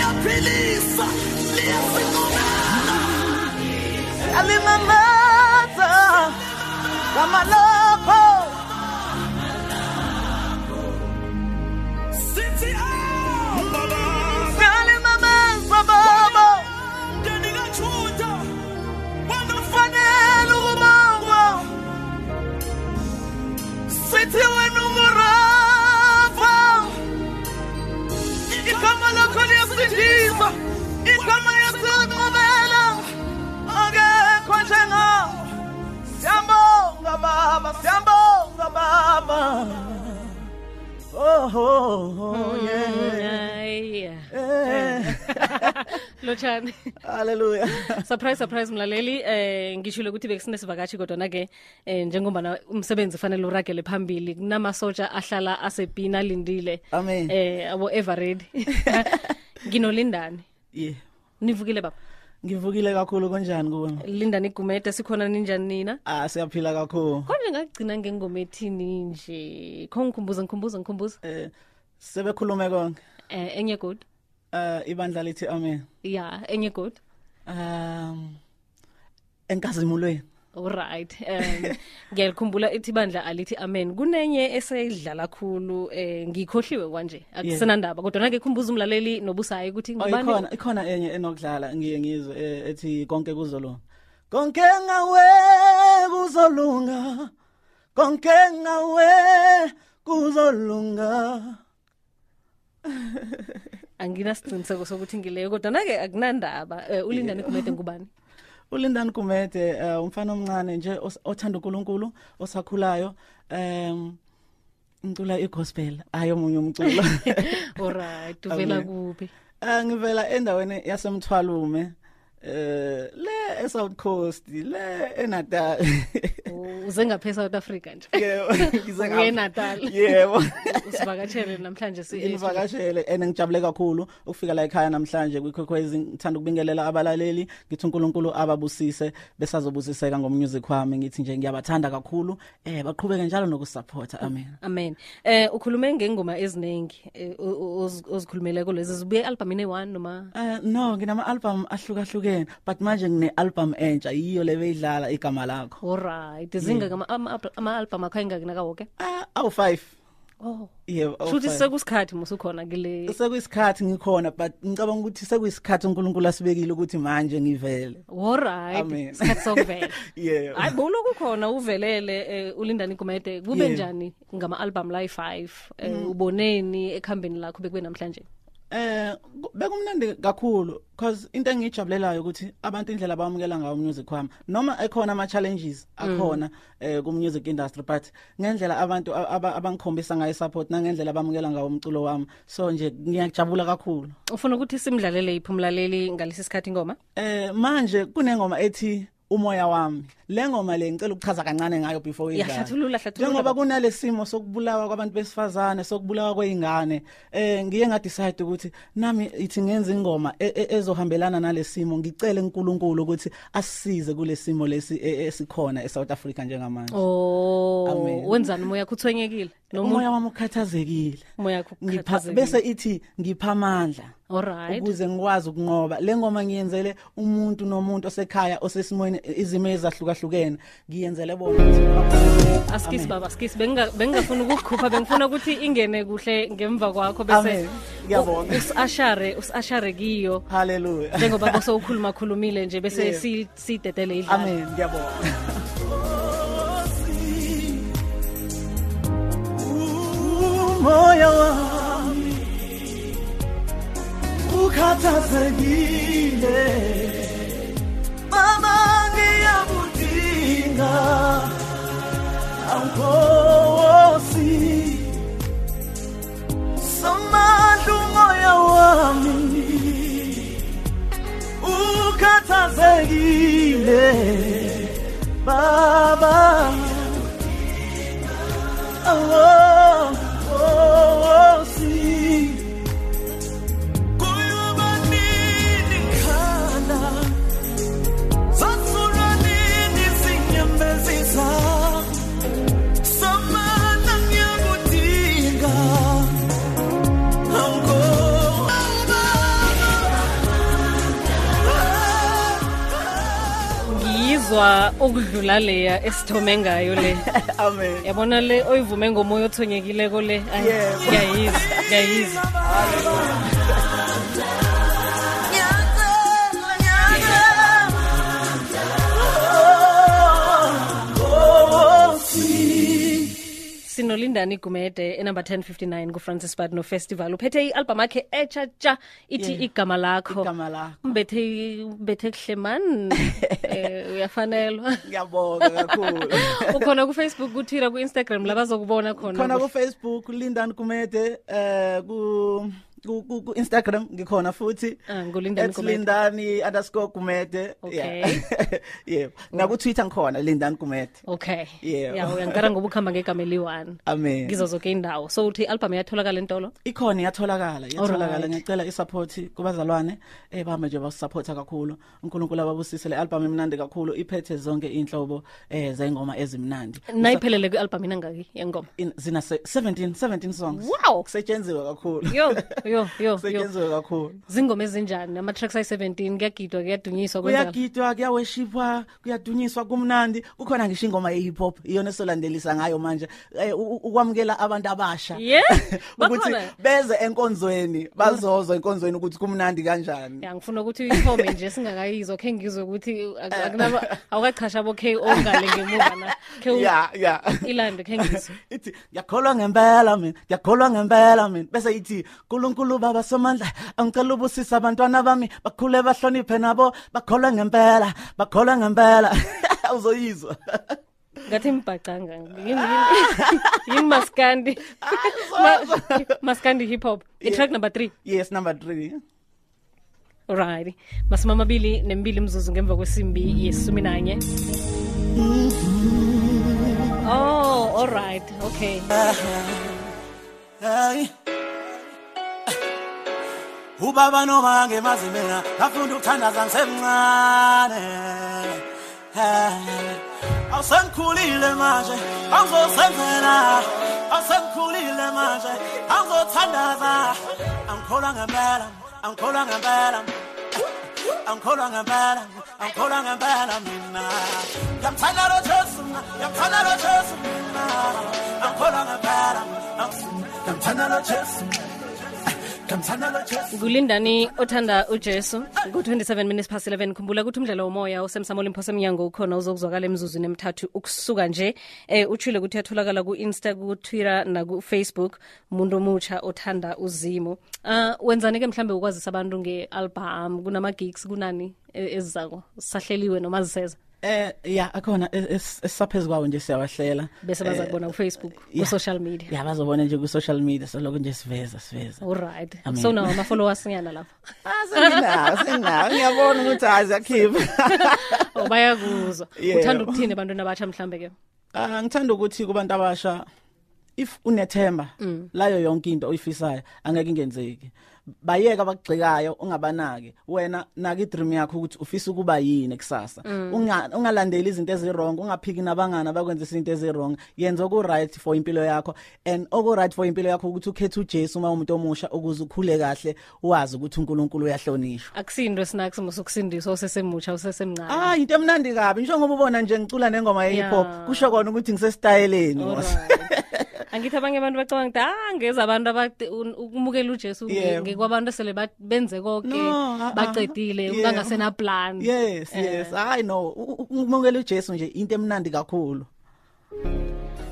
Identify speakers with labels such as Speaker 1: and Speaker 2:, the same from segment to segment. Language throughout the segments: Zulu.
Speaker 1: liyaphilisa liyasifunana
Speaker 2: Alimamaza Gama lapho
Speaker 1: sithi ah, baba
Speaker 2: Alimamaza baba
Speaker 1: ngendingathutha wonderful
Speaker 2: Fanele ukubongwa Sithi wena ungurapa Igama lakho liyasindisa Igama liyasincomela Akekho njengawe Siyambonga baba Siyambonga baba Oh, oh, oh yeah.
Speaker 3: Hhayi,
Speaker 2: Eh,
Speaker 3: lotshani
Speaker 2: Hallelujah.
Speaker 3: surprise surprise mlaleli eh ngishilo ukuthi bekusinesivakatshi kodwa nake eh njengoba umsebenzi fanele uragele phambili kunamasotsha ahlala asebhini alindile
Speaker 2: Amen.
Speaker 3: eh abo everred nginolindani
Speaker 2: Yeah.
Speaker 3: nivukile baba
Speaker 2: Ngivukile kakhulu kanjani kuwe?
Speaker 3: lindani igumede sikhona ninjani nina
Speaker 2: Ah, siyaphila kakhulu.
Speaker 3: konje ngagcina ngengoma ethini nje kho ngikhumbuze ngikhumbuze ngikhumbuze
Speaker 2: eh sebekhulume konke
Speaker 3: eh enye god
Speaker 2: eh ibandla lithi amen
Speaker 3: ya enye god
Speaker 2: um enkazimulweni
Speaker 3: Alright. Um ngiyalikhumbula ithi bandla alithi amen. Kunenye eseyidlala kakhulu eh ngikhohliwe kanje. Akusenandaba kodwa nake khumbuza umlaleli nobusayi ukuthi
Speaker 2: Oh,
Speaker 3: ngubani
Speaker 2: ikhona ikhona enye enokudlala ngiye ngizwe eh, ethi konke kuzolunga konke ngawe kuzolunga konke ngawe kuzolunga
Speaker 3: anginasiqiniseko sokuthi ngileyo kodwa nake akunandaba. Eh, Ulindani kumede ngubani?
Speaker 2: ulindani kumede eh, umfana omncane nje os- othanda unkulunkulu osakhulayo um ngicula igospel hayi omunye umculo
Speaker 3: Alright, uvela kuphi?
Speaker 2: Eh ngivela endaweni yasemthwalume eh le eSouth Coast le eNatal
Speaker 3: U- Uze ngaphe South Africa nje.
Speaker 2: yebo
Speaker 3: Uye Natal.
Speaker 2: yebo
Speaker 3: Usivakatshele namhlanje si
Speaker 2: ngivakashele and ngijabule kakhulu ukufika la ekhaya namhlanje kwikwekwezi ngithanda ukubingelela abalaleli ngithi uNkulunkulu ababusise besazobusiseka ngommusic wami ngithi nje ngiyabathanda kakhulu eh baqhubeke njalo nokusupporta amen
Speaker 3: Amen. Eh ukhulume ngengoma eziningi eh, o- o- oz- ozikhulumeleko lezi zibuye albumini e1 noma
Speaker 2: Uh, no nginama-albhamu ahlukahlukene but manje ngine-albhamu entsha yiyo le beyidlala igama lakho
Speaker 3: Alright. Izinga kama ama-album akho engakunaka wonke.
Speaker 2: Ah, awu-five
Speaker 3: Oh.
Speaker 2: yebo
Speaker 3: Futhi
Speaker 2: awu-five.
Speaker 3: sekusikhathi musukhona kule
Speaker 2: sekuyisikhathi ngikhona but ngicabanga ukuthi sekuyisikhathi unkulunkulu asibekile ukuthi manje ngivele Amen.
Speaker 3: alright sikhathi sokuvela
Speaker 2: yeah
Speaker 3: hayi bowuloku khona uvelele eh, ulindani gumede kube
Speaker 2: Yeah. Mm-hmm.
Speaker 3: njani ngama-albhamu layi-five eh, uboneni ekuhambeni lakho bekube namhlanje
Speaker 2: eh ku- bekumnandi kakhulu cause into engijabulelayo ukuthi abantu indlela abamukela ngayo umusic wami noma ekhona ama challenges akhona eh ku music industry but ngendlela abantu a- aba- abangikhombisa ngayo support nangendlela abamukela ngayo umculo wami so nje ngiyajabula kakhulu
Speaker 3: ufuna ukuthi simdlalele yiphi umlaleli ngalesi sikhathi ingoma
Speaker 2: eh manje kunengoma ethi umoya wami le ngoma le ngicela ukuchaza kancane ngayo before we
Speaker 3: Yahlathulula, hlathulula.
Speaker 2: njengoba kunalesimo sokubulawa kwabantu besifazane sokubulawa kweingane eh ngiye ngadecide ukuthi nami ithi ngenza ingoma e- e- ezohambelana nalesimo ngicele uNkulunkulu ukuthi asisize kulesimo lesi e- esikhona eSouth Africa njengamanje
Speaker 3: o
Speaker 2: Amen.
Speaker 3: Oh, wenzani umoya akho uthwenyekile noma
Speaker 2: umoya wami ukhathazekile
Speaker 3: umoya akho
Speaker 2: ngipha bese ithi ngipha amandla
Speaker 3: olright
Speaker 2: ukuze ngikwazi ukunqoba le ngoma ngiyenzele umuntu nomuntu osekhaya osesimweni izimo ezahlukahlukene ngiyenzele bona
Speaker 3: asikisi baba asikisi Benginga- bengingafuni ukukukhupha bengifuna ukuthi ingene kuhle ngemva kwakho bese
Speaker 2: Amen. Ngiyabonga.
Speaker 3: u- usi-ashare usi-ashare kiyo
Speaker 2: haleluya
Speaker 3: njengoba bosowukhuluma khulumile nje bese
Speaker 2: Yeah.
Speaker 3: si- siyidedele idlala
Speaker 2: amen ngiyabonga umoya wami ukhathazekile mama ngiyakudinga awukhosi somandla umoya wami ukhathazekile baba oh, oh, oh, si.
Speaker 1: kuyoba nini khala zasulwa nini zinyembezisa so
Speaker 3: uzwa okudlula leya esithome ngayo le
Speaker 2: amen
Speaker 3: yabona le oyivume ngomoya othonyekileko le ayi,
Speaker 2: Yebo.
Speaker 3: ngiyayizwa ngiyayizwa sinolindani igumede enumber 1059 ngufrancis bad nofestival uphethe i-albhamu akhe etsha tsha ithi
Speaker 2: Yeah.
Speaker 3: igama lakho
Speaker 2: igama lakho
Speaker 3: umbethe umbethe kuhle mani um uyafanelwa
Speaker 2: ngiyabonga kakhulu
Speaker 3: ukhona kufacebook kutwitter ku-instagram labazokubona khona
Speaker 2: khona ku-facebook lindan kumede eh ku ku- ku- ku-instagram ngikho futhi
Speaker 3: Ah, ngulindani
Speaker 2: at
Speaker 3: Gumede.
Speaker 2: lindani underscore kumede
Speaker 3: Okay.
Speaker 2: yebo nakutwitter ngikhona lindan kumede
Speaker 3: okay
Speaker 2: Yeah.
Speaker 3: ya uyangikara ngoba ukuhamba ngegama eliyi-one
Speaker 2: amen
Speaker 3: ngizo zonke indawo so uthi i-albhamu yatholakala entolo
Speaker 2: ikhona iyatholakala iyatholakala
Speaker 3: Alright.
Speaker 2: ngiyacela isaphothi kubazalwane um bahambe nje basupporta kakhulu unkulunkulu ababusise le albhamu emnandi kakhulu iphethe zonke iy'nhlobo um zey'ngoma ezimnandi
Speaker 3: nayiphelele kwi-albhamu inangaki yengoma
Speaker 2: In- zina se- 17 17 songs
Speaker 3: Wow.
Speaker 2: kusetshenziwe kakhulu
Speaker 3: yo yo yo yo
Speaker 2: kusetshenziwe kakhulu
Speaker 3: zingoma ezinjani ama-tracks ayi-17 kuyagidwa kuyadunyiswa kwenzani
Speaker 2: kuyagidwa kuyaweshipwa kuyadunyiswa kumnandi kukhona ngisho ingoma ye-hip hop iyona esolandelisa ngayo manje eh, u- u- ukwamukela abantu abasha
Speaker 3: Yeah,
Speaker 2: ukuthi
Speaker 3: bakhona.
Speaker 2: beze enkonzweni bazozwa enkonzweni ukuthi kumnandi kanjani
Speaker 3: ya ngifuna ukuthi uyithome nje singakayizwa khe ngizwe ukuthi ak- akunaba- awukachasha abo khe ongale ngemuva na khe u-
Speaker 2: ya ya
Speaker 3: ilande khe ngizwe
Speaker 2: ithi ngiyakholwa ngempela mina ngiyakholwa ngempela mina bese ithi nkulunkulu baba somandla angicela ubusisa abantwana bami bakhule bahloniphe nabo bakholwa ngempela bakholwa ngempela uzoyizwa
Speaker 3: ngathi mbhacanga yini yini- yini maskandi Ma- maskandi hip hop i-track number three
Speaker 2: yes number three
Speaker 3: right masumi amabili nembili mzuzu ngemva kwesimbi yesumi nanye oh alright okay
Speaker 4: Hey. Ubaba noma ngemazi mina ngafunda ukuthandaza ngisemncane Hey. Awusengikhulile manje angizosenzela Awusengikhulile manje angizothandaza Angikholwa ngempela angikholwa ngempela angikholwa ngempela angikholwa ngempela mina Ngiyamthanda lo Jesu mina ngiyamthanda lo Jesu mina Angikholwa ngempela ngiyamthanda lo Jesu ngiyamthanda lo Jesu
Speaker 3: ngulindani othanda ujesu ku-27 minutes past 11 khumbula ukuthi umdlalo womoya usemsamo olimphosa emnyango ukhona uzokuzwakala emzuzu nemthathu ukusuka nje um utshile ukuthi uyatholakala ku-insta ku-twitter naku-facebook umuntu omutsha othanda uzimo um wenzani ke mhlambe ukwazisa abantu nge-albham kunama-gigs kunani e- ezizako sahleliwe noma ziseza
Speaker 2: eh ya akhona es- es- esisaphezu kwawo nje siyawahlela Eh,
Speaker 3: bese baza kubona kufacebook
Speaker 2: yeah.
Speaker 3: ku-social media
Speaker 2: ya bazobona nje ku-social media soloko nje siveza siveza
Speaker 3: allright
Speaker 2: Amen.
Speaker 3: so nawo ama-followers nyana lapho
Speaker 2: Ah, senginawo senginawo ngiyabona ukuthi hayi siyakhipha
Speaker 3: Oh, bayakuzwa
Speaker 2: Yebo.
Speaker 3: uthanda ukuthini ebantwini abatsha mhlambe ke
Speaker 2: Ah ngithanda ukuthi kubantu abasha if unethemba layo yonke into oyifisayo angeke ingenzeki bayeka abagxekayo ungabanaki wena naka idream yakho ukuthi ufisa ukuba yini kusasa Unga- ungalandeli izinto ezirong ungaphiki nabangani abakwenzisa izinto ezirong yenza oku-right for impilo yakho and oku-right for impilo yakho ukuthi ukhethe ujesu uma umuntu omusha ukuze ukhule kahle wazi ukuthi unkulunkulu uyahlonishwa
Speaker 3: akusindo snacks musukusindiswa usesemutsha usesemncane
Speaker 2: ah into emnandi kabi ngisho ngoba ubona nje ngicula nengoma
Speaker 3: Yeah.
Speaker 2: ye-hip hop kusho kona ukuthi ngisesitayeleni mos
Speaker 3: Alright. angithi abanye abantu bacabanga ukuthi ah ngeza abantu abade- un- ukumukela ujesu nge-
Speaker 2: Yebo.
Speaker 3: ngekwabantu esele bat- benze konke
Speaker 2: No, ah, ah,
Speaker 3: bacedile
Speaker 2: yeah.
Speaker 3: bangasenaplan
Speaker 2: yes yes hayi no ukumukela ujesu nje into emnandi kakhulu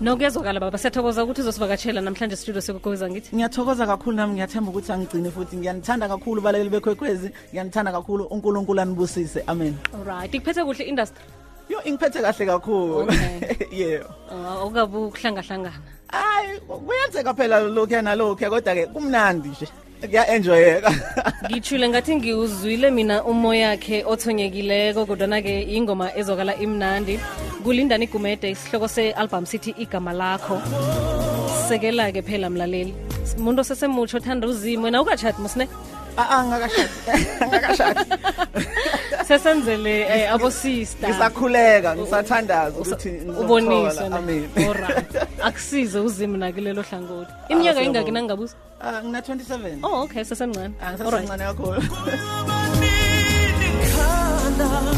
Speaker 3: no kuyazwakala baba siyathokoza ukuthi uzosivakatshela namhlanje studio sekugoweza ngithi
Speaker 2: ngiyathokoza kakhulu nami ngiyathemba ukuthi angigcine futhi ngiyanithanda kakhulu balaleli bekwekwezi ngiyanithanda kakhulu unkulunkulu anibusise amen
Speaker 3: olright ikuphethe kuhle industry
Speaker 2: yo ingiphethe kahle kakhulu
Speaker 3: Okay.
Speaker 2: yeah
Speaker 3: Ah, awukabe ukuhlangahlangana
Speaker 2: hayi kuyenzeka phela lokhuya nalokhuya kodwa-ke kumnandi nje kuya-enjoyeka
Speaker 3: ngithule ngathi ngiwuzwile mina umoya wakhe othonyekileko kodwana-ke ingoma ezwakala imnandi kulindani igumede isihloko se-albhamu sithi igama lakho sekela-ke phela mlaleli muntu osesemutsho othanda uzimo wena ukatshati musine
Speaker 2: Ah, ah, ngakashadi ngakashadi
Speaker 3: sesenzele eh, abosista
Speaker 2: ngisakhuleka ngisathandaza ukuthi
Speaker 3: uboniswe
Speaker 2: ngizomthola. amen
Speaker 3: orit akusize uzimo nakulelo hlangothi iminyaka
Speaker 2: siyabonga.
Speaker 3: ingaki nangingabuza
Speaker 2: Ah, ngina 27
Speaker 3: oh okay sesemncane
Speaker 2: Ah,
Speaker 3: Alright.
Speaker 2: ngisasemncane kakhulu
Speaker 1: Kumini kana